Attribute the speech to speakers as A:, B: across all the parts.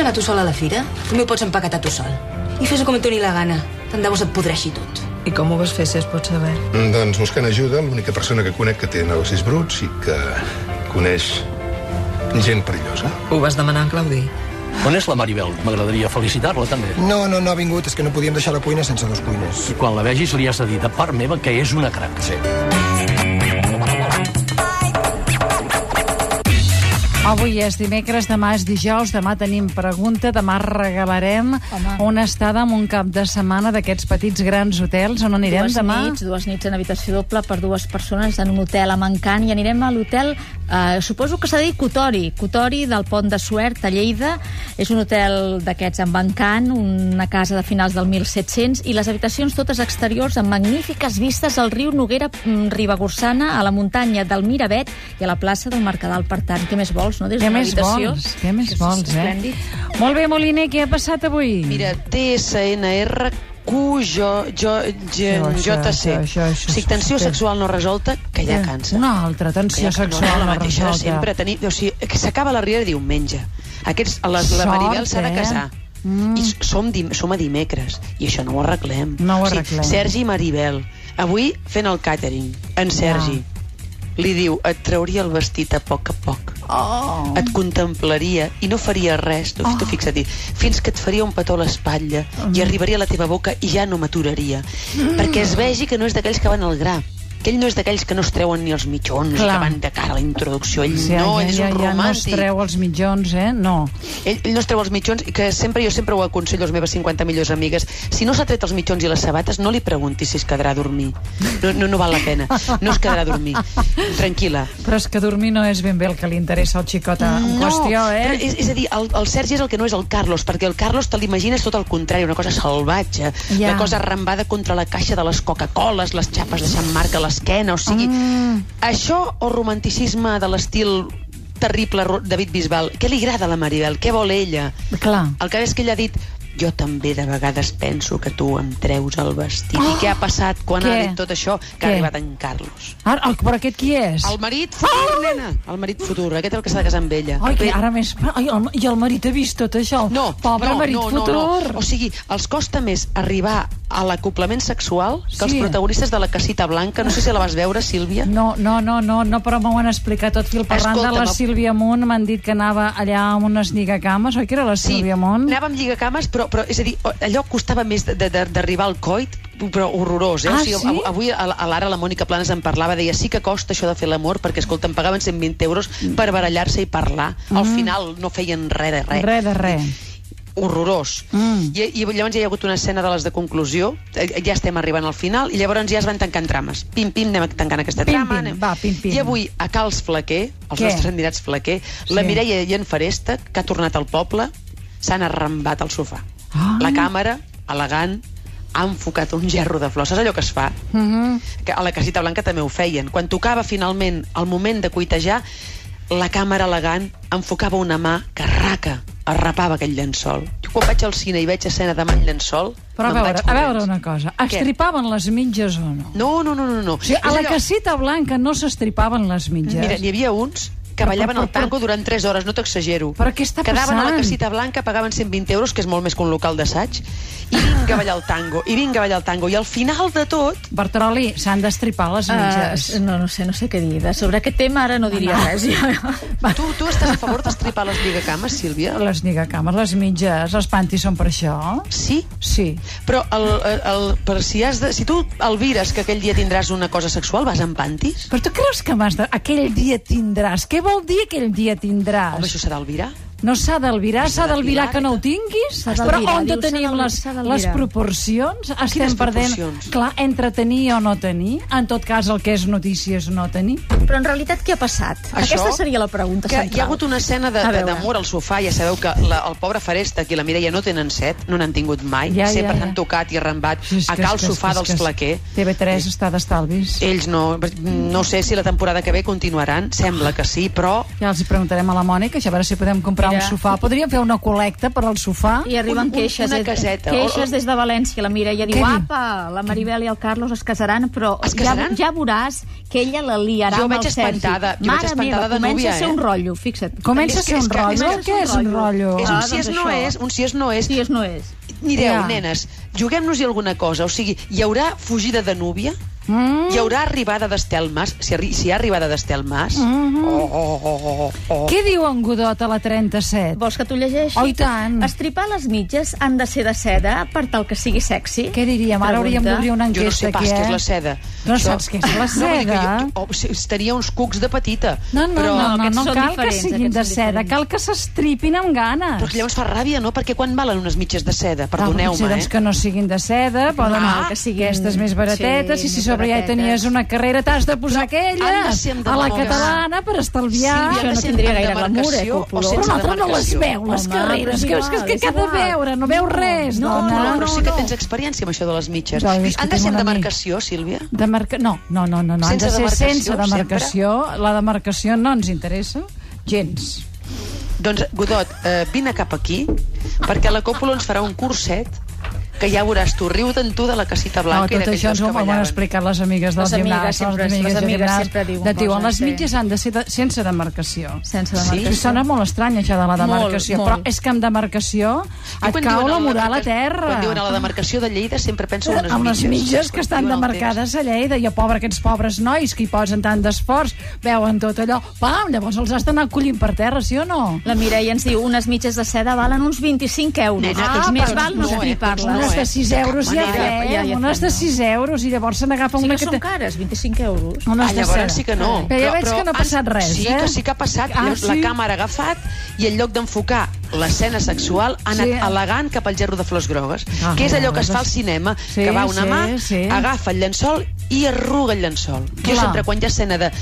A: anar tu sol a la fira? També ho pots empaquetar tu sol. I fes-ho com et doni la gana. Tant de bo se't podreixi tot.
B: I com ho vas fer, si es pot saber?
C: Mm, Doncs buscant ajuda, l'única persona que conec que té negocis bruts i que coneix gent perillosa.
B: Ho vas demanar a Claudi?
D: On és la Maribel? M'agradaria felicitar-la, també.
E: No, no, no ha vingut, és que no podíem deixar la cuina sense dos cuiners.
D: I quan la vegis li has de dir, de part meva, que és una crac. Sí.
F: Avui és dimecres, demà és dijous, demà tenim pregunta, demà regalarem Home. una estada en un cap de setmana d'aquests petits grans hotels. On anirem
G: dues
F: demà?
G: Nits, dues nits en habitació doble per dues persones en un hotel a Mancant i anirem a l'hotel, eh, suposo que s'ha de dir Cotori, Cotori del Pont de Suert a Lleida. És un hotel d'aquests en Mancant, una casa de finals del 1700 i les habitacions totes exteriors amb magnífiques vistes al riu Noguera mm, Ribagorçana, a la muntanya del Miravet i a la plaça del Mercadal. Per tant, què més vols, no? Des
F: Què
G: d'una
F: més
G: habitació.
F: vols? Què més
G: És
F: vols, eh?
G: esplèndid.
F: Molt bé, Moliner, què ha passat avui?
H: Mira, DSNR, Q, jo, jo, G,
F: No, això,
H: JC.
F: això, això, això
H: o sigui, tensió
F: és-
H: sexual no resolta, que ja cansa.
F: Eh, Una altra
H: Que
F: tensió
H: ja- no,
F: sexual
H: no, la
F: no,
H: mateixa de
F: resolta.
H: sempre. Tenir, o sigui, que s'acaba la riera diumenge. Aquests, la, la
F: Sort,
H: Maribel s'ha de
F: eh?
H: casar.
F: Mm.
H: Mm. I som, dim, som a dimecres, i això no ho arreglem.
F: No ho
H: O sigui,
F: arreglem.
H: Sergi i Maribel, avui fent el catering, en Sergi li diu, et trauria el vestit a poc a poc. Oh. Et contemplaria i no faria res, tu, oh. fixa't, fins que et faria un petó a l'espatlla
F: Oh,
H: i arribaria a la teva boca i ja no m'aturaria.
F: Mm.
H: Perquè es vegi que no és d'aquells que van al gra. Que ell no és d'aquells que no es treuen ni els mitjons,
F: Clar.
H: que van de cara a la introducció. Ell
F: Sí,
H: no,
F: ja,
H: ell és
F: ja,
H: un
F: ja no es
H: romàntic.
F: treu els mitjons, eh? No.
H: Ell, ell no es treu els mitjons, i que sempre jo sempre ho aconsello a les meves 50 millors amigues. Si no s'ha tret els mitjons i les sabates, no li preguntis si es quedarà a dormir. No, no, no val la pena. No es quedarà a dormir. Tranquil·la.
F: Però és que dormir no és ben bé el que li interessa al xicot en qüestió,
H: però
F: eh?
H: És, és a dir, el, el Sergi és el que no és el Carlos, perquè el Carlos te l'imagines tot el contrari, una cosa salvatge,
F: Ja.
H: yeah. una cosa arrambada contra la caixa de les Coca-Coles, les xapes deixant marca a l'esquena, o sigui...
F: Ah.
H: Mm. Això o romanticisme de l'estil terrible Ro- David Bisbal, què li agrada a la Maribel? Què vol ella?
F: Clar.
H: El que és que ella ha dit jo també de vegades penso que tu em treus el vestit. Oh, I què ha passat quan
F: Què?
H: ha dit tot això? Que
F: Què?
H: ha arribat en Carlos.
F: Ara, el, però aquest qui és?
H: El marit futur, oh! nena! El marit futur, aquest el que s'ha de casar amb ella.
F: Ah! Ai, que
H: Però-
F: ara més... Ai, el, I el marit ha vist tot això?
H: No,
F: Pobre
H: no,
F: marit
H: no,
F: futur!
H: No, no. O sigui, els costa més arribar a l'acoplament sexual que els
F: Sí.
H: protagonistes de la casita blanca. No sé si la vas veure, Sílvia.
F: No, no, no, no, no, però m'ho han explicat tot fil per randa.
H: Escolta'm,
F: La
H: el-
F: Sílvia Munt m'han dit que anava allà amb unes lligacames, oi que era la Sílvia Munt?
H: anava amb lligacames, però, però és a dir, allò costava més de- de- de- d'arribar al coit, però horrorós, eh?
F: Ah,
H: o sigui,
F: sí?
H: av- avui a, a l'ara la Mònica Planes en parlava, deia, sí que costa això de fer l'amor, perquè, escolta, em pagaven 120 euros per barallar-se i parlar. Al
F: Mm.
H: final no feien res de res.
F: Re de re.
H: horrorós.
F: Mm.
H: Mm. I, I llavors ja hi ha hagut una escena de les de conclusió, eh, ja estem arribant al final, i llavors ja es van tancant trames. Pim, pim, anem tancant aquesta
F: Pim,
H: trama.
F: pim,
H: anem...
F: va, pim, pim.
H: I avui a Cals Flaquer, els
F: Què?
H: nostres admirats Flaquer, la
F: Sí.
H: Mireia i en Faresta, que ha tornat al poble, s'han arrambat al sofà.
F: Ah.
H: La càmera, elegant, ha enfocat un gerro de flors. Saps allò que es fa?
F: Mhm.
H: que a la Casita Blanca també ho feien. Quan tocava finalment el moment de cuitejar, la càmera elegant enfocava una mà que raca, arrapava aquell llençol. Jo quan vaig al cine i veig escena de mà en llençol...
F: Però a
H: me'n
F: veure,
H: vaig
F: a veure
H: corrents.
F: una cosa.
H: Què?
F: Estripaven les mitges o no?
H: No, no, no, no. no.
F: O sigui, a
H: És
F: la
H: allò-
F: caseta blanca no s'estripaven les mitges.
H: Mira, n'hi havia uns que
F: Però,
H: ballaven
F: però,
H: el
F: però,
H: tango durant 3 hores, no t'exagero.
F: Però què està
H: Quedaven a
F: passant?
H: la casita blanca, pagaven 120 euros, que és molt més que un local d'assaig, i vinga a ballar el tango, i vinga a ballar el tango. I al final de tot,
F: Bertroli, s'han d'estripar
H: Ah,
F: les mitges.
G: Uh, no, no sé, no sé què dir. De- Sobre aquest tema ara no diria no. res. Ja.
H: tu, tu estàs a favor d'estripar les lligacames, Sílvia?
F: Les lligacames, les mitges, els pantis són per això?
H: Sí?
F: Sí.
H: Però el, el, el, per si, has de, si tu elvires que aquell dia tindràs una cosa sexual, vas en pantis?
F: Però tu creus que m'has de... Aquell dia tindràs. Què vol dir aquell dia tindràs?
H: Home, això serà elvirar?
F: No s'ha d'alvirar, s'ha d'alvirar
H: d'albirar,
F: que no ho tinguis.
G: S'ha
F: Però
G: d'albirar,
F: on de
G: diu, s'ha
F: tenim
G: d'albirar,
F: les,
G: s'ha d'albirar.
F: les proporcions? Estem perdent,
H: proporcions?
F: clar, entre tenir o no tenir. En tot cas, el que és notícia és no tenir.
G: Però en realitat què ha passat?
H: Això?
G: Aquesta seria la pregunta
H: Que
G: central.
H: hi ha hagut una escena de-
G: A
H: de-
G: veure.
H: d'amor al sofà, ja sabeu que la, el pobre Faresta i la Mireia no tenen set, no n'han tingut mai,
F: Ja,
H: sempre
F: ja, ja.
H: s'han tocat i arrambat
F: Sí, és
H: a
F: que-
H: cal
F: és que-
H: sofà
F: és que-
H: dels
F: és que-
H: Flaquer.
F: TV3 està d'estalvis.
H: Ells no, no sé si la temporada que ve continuaran, sembla que sí, però
F: Ja els hi preguntarem a la Mònica, a veure si podem comprar comprar un
G: Mira.
F: sofà. Podríem fer una col·lecta per al sofà?
G: I arriben
H: Un- un-
G: queixes,
H: una
G: eh,
H: caseta, o-
G: queixes des de València. La Mireia diu,
F: Què diu?
G: apa, la Maribel i el Carlos es casaran, però
H: Es casaran?
G: Ja, ja veuràs que ella la liarà
H: Jo
G: amb
H: vaig
G: el Sergi.
H: espantada, jo
G: Mare
H: vaig espantada
G: meva,
H: de
G: comença
H: núvia,
G: a ser un
H: eh?
G: rotllo, fixa't.
F: Comença a
H: És
F: ser
H: que-
F: un
H: és que- és
F: rotllo?
H: que-
F: Què és un rotllo?
H: És
G: Ah,
H: un si
G: doncs
H: és no
G: això.
H: és, un si és no és.
G: Sí, és no és.
H: Mireu,
F: Ja.
H: nenes, juguem-nos-hi alguna cosa. O sigui, hi haurà fugida de núvia? Mm. Hi haurà arribada d'Estel Mas? Si, arri si hi ha arribada d'Estel Mas? Mm -hmm. oh, oh, oh, oh, oh.
F: Què diu en Godot a la 37?
G: Vols que t'ho llegeixi?
F: Oh, i tant.
G: Estripar les mitges han de ser de seda per tal que sigui sexy?
F: Què diríem? Ara hauríem
G: Pregunta.
F: d'obrir una
H: Jo no
F: enquesta
H: sé pas
F: aquí, eh?
H: què és la seda.
F: No saps què és la
H: No, vull dir que
F: seda?
H: jo, oh, sí, tenia uns cucs de petita.
F: No, no, no,
H: però...
F: no,
G: aquests
F: no,
G: són
F: cal que
G: diferents,
F: siguin
G: aquests
F: de
G: són
F: seda,
G: diferents.
F: cal que s'estripin amb ganes.
H: Però que Doncs llavors fa ràbia, no? Perquè quan valen unes mitges de seda?
F: Ah, potser,
H: Perdoneu-me,
F: doncs,
H: eh? Ah, mm,
F: que no siguin de seda, poden
G: no, que siguin-
F: aquestes més baratetes,
G: sí,
F: i si
G: més
F: sobre ja hi
G: baratetes.
F: tenies una carrera t'has de posar
H: han de
F: aquelles
H: ser amb
F: a la
H: demòcrata.
F: catalana per estalviar.
G: Sílvia,
H: han
G: no
H: de ser
G: tindria
H: amb
G: gaire glamour,
H: demarcació
G: eh, Coppola?
H: o
F: Però
H: sense
F: vosaltres no les
H: demarcació?
F: veu, les
G: Home, però
F: carreres,
G: és
F: que, és que, és que
G: igual,
H: Ah,
F: què ha de
G: és igual.
F: veure? No veu res,
G: No,
F: dona.
H: No, però sí que
G: no.
H: tens experiència amb això de les mitges.
F: Ja ho
H: I Han de
F: discutim amb
H: ser amb
F: un amic.
H: demarcació, Sílvia?
F: De marca... No, no, no, no, no. Ens
H: Sense
F: ha de ser
H: demarcació,
F: sense demarcació. La demarcació no ens interessa gens.
H: Doncs, Godot, eh, vine cap aquí, perquè la Còpula ens farà un curset que ja veuràs tu, riu-te'n tu de la casita
F: No,
H: blanca i
F: tot
H: d'aquells
F: això ens
H: dos
F: ho
H: que
F: han
H: ballaven.
F: explicat les amigues del
G: Les amigues
F: gimnàs.
G: sempre- les
F: del
G: amigues
F: gimnàs
G: sempre diuen
F: de tio,
G: coses,
F: les
G: sí.
F: mitges han de ser de, sense demarcació.
G: Sense
H: Sí?
G: demarcació.
F: Sí, sona molt estrany, això de la
G: Molt,
F: demarcació.
G: molt.
F: Però és que amb demarcació
H: Jo
F: et
H: quan
F: cau
H: diuen
F: la moral a
H: demarca-
F: terra.
H: Quan diuen a la demarcació de Lleida sempre penso en unes
F: amb les mitges que
H: Quan
F: estan
H: diuen el
F: demarcades a Lleida i a pobre aquests pobres nois que hi posen tant d'esforç veuen tot allò, pam, llavors els has d'anar collint per terra, sí o no?
G: La Mireia ens diu, unes mitges de seda valen uns 25 euros.
H: Nena,
G: ah,
H: doncs
G: més
H: no,
G: val no,
H: no, eh?
G: estripar-les.
H: Doncs
F: Unes de
H: eh?
F: 6 euros ja
H: Manera,
F: fem,
G: ja, ja
F: unes
G: fem,
F: de
G: no.
F: 6 euros i llavors se n'agafa
G: Sí
F: una
G: que són
F: te-
G: cares, 25 euros.
F: unes
H: Ah,
F: de
H: llavors
F: seda.
H: sí que no.
F: Però ja veig que no ha
H: ans-
F: passat res,
H: sí,
F: eh?
H: que sí que ha passat.
F: Ah,
H: Ah, La
F: sí?
H: càmera ha agafat i en lloc d'enfocar l'escena sexual ha anat
F: Sí.
H: sí. elegant cap al gerro de flors grogues,
F: Ah,
H: ah, que és allò que es
F: doncs-
H: fa al cinema,
F: Sí,
H: que va una
F: sí,
H: mà,
F: sí.
H: agafa el llençol i arruga el llençol. Jo
F: Clar.
H: sempre, quan hi ha escena de...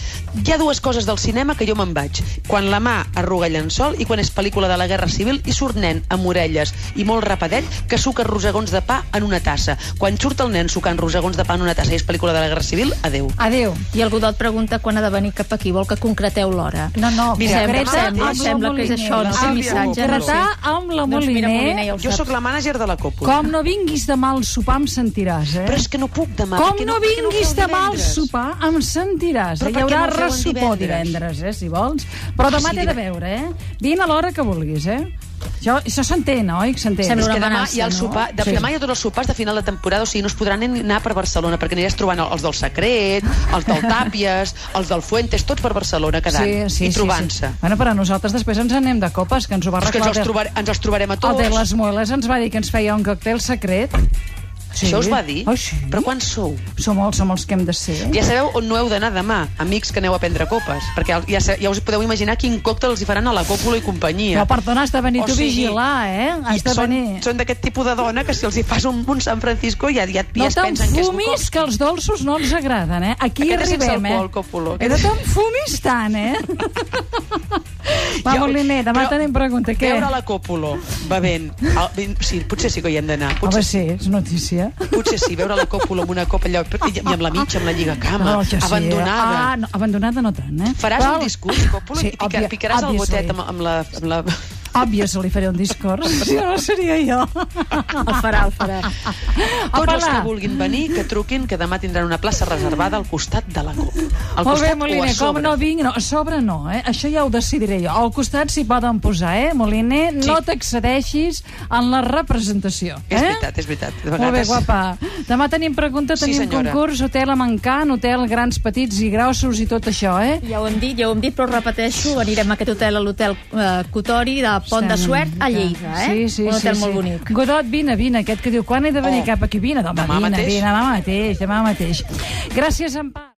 H: Hi ha dues coses del cinema que jo me'n vaig. Quan la mà arruga el llençol i quan és pel·lícula de la Guerra Civil i surt nen amb orelles i molt rapadet que suca rosegons de pa en una tassa. Quan surt el nen sucant rosegons de pa en una tassa i és pel·lícula de la Guerra Civil, adeu.
F: Adéu.
G: I el Godot pregunta quan ha de venir cap aquí, vol que concreteu l'hora.
F: No, no,
H: Mira,
F: concreta
H: sembla-
F: amb la
G: sembla que és
F: Moliner.
G: això, no?
H: Aquest
F: Ah,
H: missatge, no
F: Concretar amb la
G: Doncs mira, Moliner
F: Moliner.
G: ja ho
H: Jo
G: sap.
H: sóc la mànager de la còpula.
F: Com no vinguis demà al sopar em sentiràs, eh?
H: Però és que no puc demà.
F: Com
H: perquè
F: no
H: perquè
F: vinguis
H: ho feu
F: demà al
H: divendres.
F: sopar em sentiràs.
H: Però
F: eh?
H: per
F: Hi
H: què
F: haurà
H: no ho feuen
F: ressopor
H: divendres?
F: divendres, eh, si vols. Però demà
H: sí,
F: t'he de veure, eh? Vine a l'hora que vulguis, eh? Això, això s'entén, oi? Que s'entén.
G: Sembla
H: És que
G: una
H: demà
G: amenaça,
H: hi ha el
G: no?
H: sopar, de,
F: Sí.
H: sí. demà hi ha tots els sopars de final de temporada, o sigui, no es podran ni anar per Barcelona, perquè aniràs trobant els del Secret, els del Tàpies, els del Fuentes, tots per Barcelona quedant i trobant-se.
F: Bueno, però nosaltres després ens anem de copes, que ens ho va
H: És que ens
F: recordar.
H: els, trobar, ens els trobarem a
F: El de
H: tots.
F: les Mueles ens va dir que ens feia un còctel secret.
H: Això us va dir?
F: Oh, sí.
H: Però quan sou?
F: Som els, som els que hem de ser.
H: Ja sabeu on no heu d'anar demà, amics que aneu a prendre copes, perquè ja, sa- ja us podeu imaginar quin còctel els hi faran a la còpula i companyia.
F: Però, perdona, has de venir
H: O
F: tu a
H: sigui,
F: vigilar, eh? Has de
H: són,
F: venir.
H: són d'aquest tipus de dona que si els hi fas un, un San Francisco ja, ja, ja
F: No
H: es
F: te'n
H: pensen que és
F: fumis, que els dolços no ens agraden, eh? Aquí
H: Aquest és sense
F: arribem, eh?
H: alcohol, Coppola.
F: Eh, No te'n fumis tant, eh? Va,
H: Jo-
F: Moliner, demà
H: però
F: tenim pregunta. Què?
H: Veure la Còpolo bevent... el vin- sí, potser sí que hi hem d'anar.
F: Home,
H: Potser,
F: sí, és notícia.
H: potser sí, veure la Còpolo amb una copa allò, i i amb la mitja, amb la lligacama,
F: No, jo sí. eh?
H: abandonada.
F: Ah, no, abandonada no tant, eh?
H: Faràs
F: Però-
H: un discurs, Còpolo,
F: Sí,
H: i pica,
F: obvia-
H: picaràs el
F: obviously.
H: botet amb, amb la... Amb la...
F: Obviously faré un discurs, si no, no seria jo.
G: El farà, el farà.
H: Tots els que
F: Apel·lar.
H: vulguin venir, que truquin, que demà tindran una plaça reservada al costat de la Còpolo. Al
F: Molt bé,
H: costat o a
F: Moliner, com
H: sobre.
F: no vinc... No, a sobre no, eh? Això ja ho decidiré jo. Al costat s'hi poden posar, eh? Moliner,
H: Sí.
F: no t'excedeixis en la representació. Eh?
H: És veritat, és veritat. De
F: Molt bé,
H: vegades...
F: guapa. Demà tenim pregunta,
H: Sí,
F: tenim
H: senyora.
F: concurs, hotel a Mancant, hotel grans, petits i grossos i tot això, eh?
G: Ja ho hem dit, ja ho hem dit, però ho repeteixo, anirem a aquest hotel, a l'hotel eh, Cotori, de Pont de Suert, a Lleida,
F: Sí,
G: eh?
F: sí,
G: Un hotel
F: sí, sí.
G: molt bonic.
F: Godot, vine, vine, aquest que diu, quan he de venir oh. cap aquí? Vine, demà,
H: Demà
F: vine,
H: mateix?
F: vine, demà mateix, demà mateix. Gràcies, en Pau.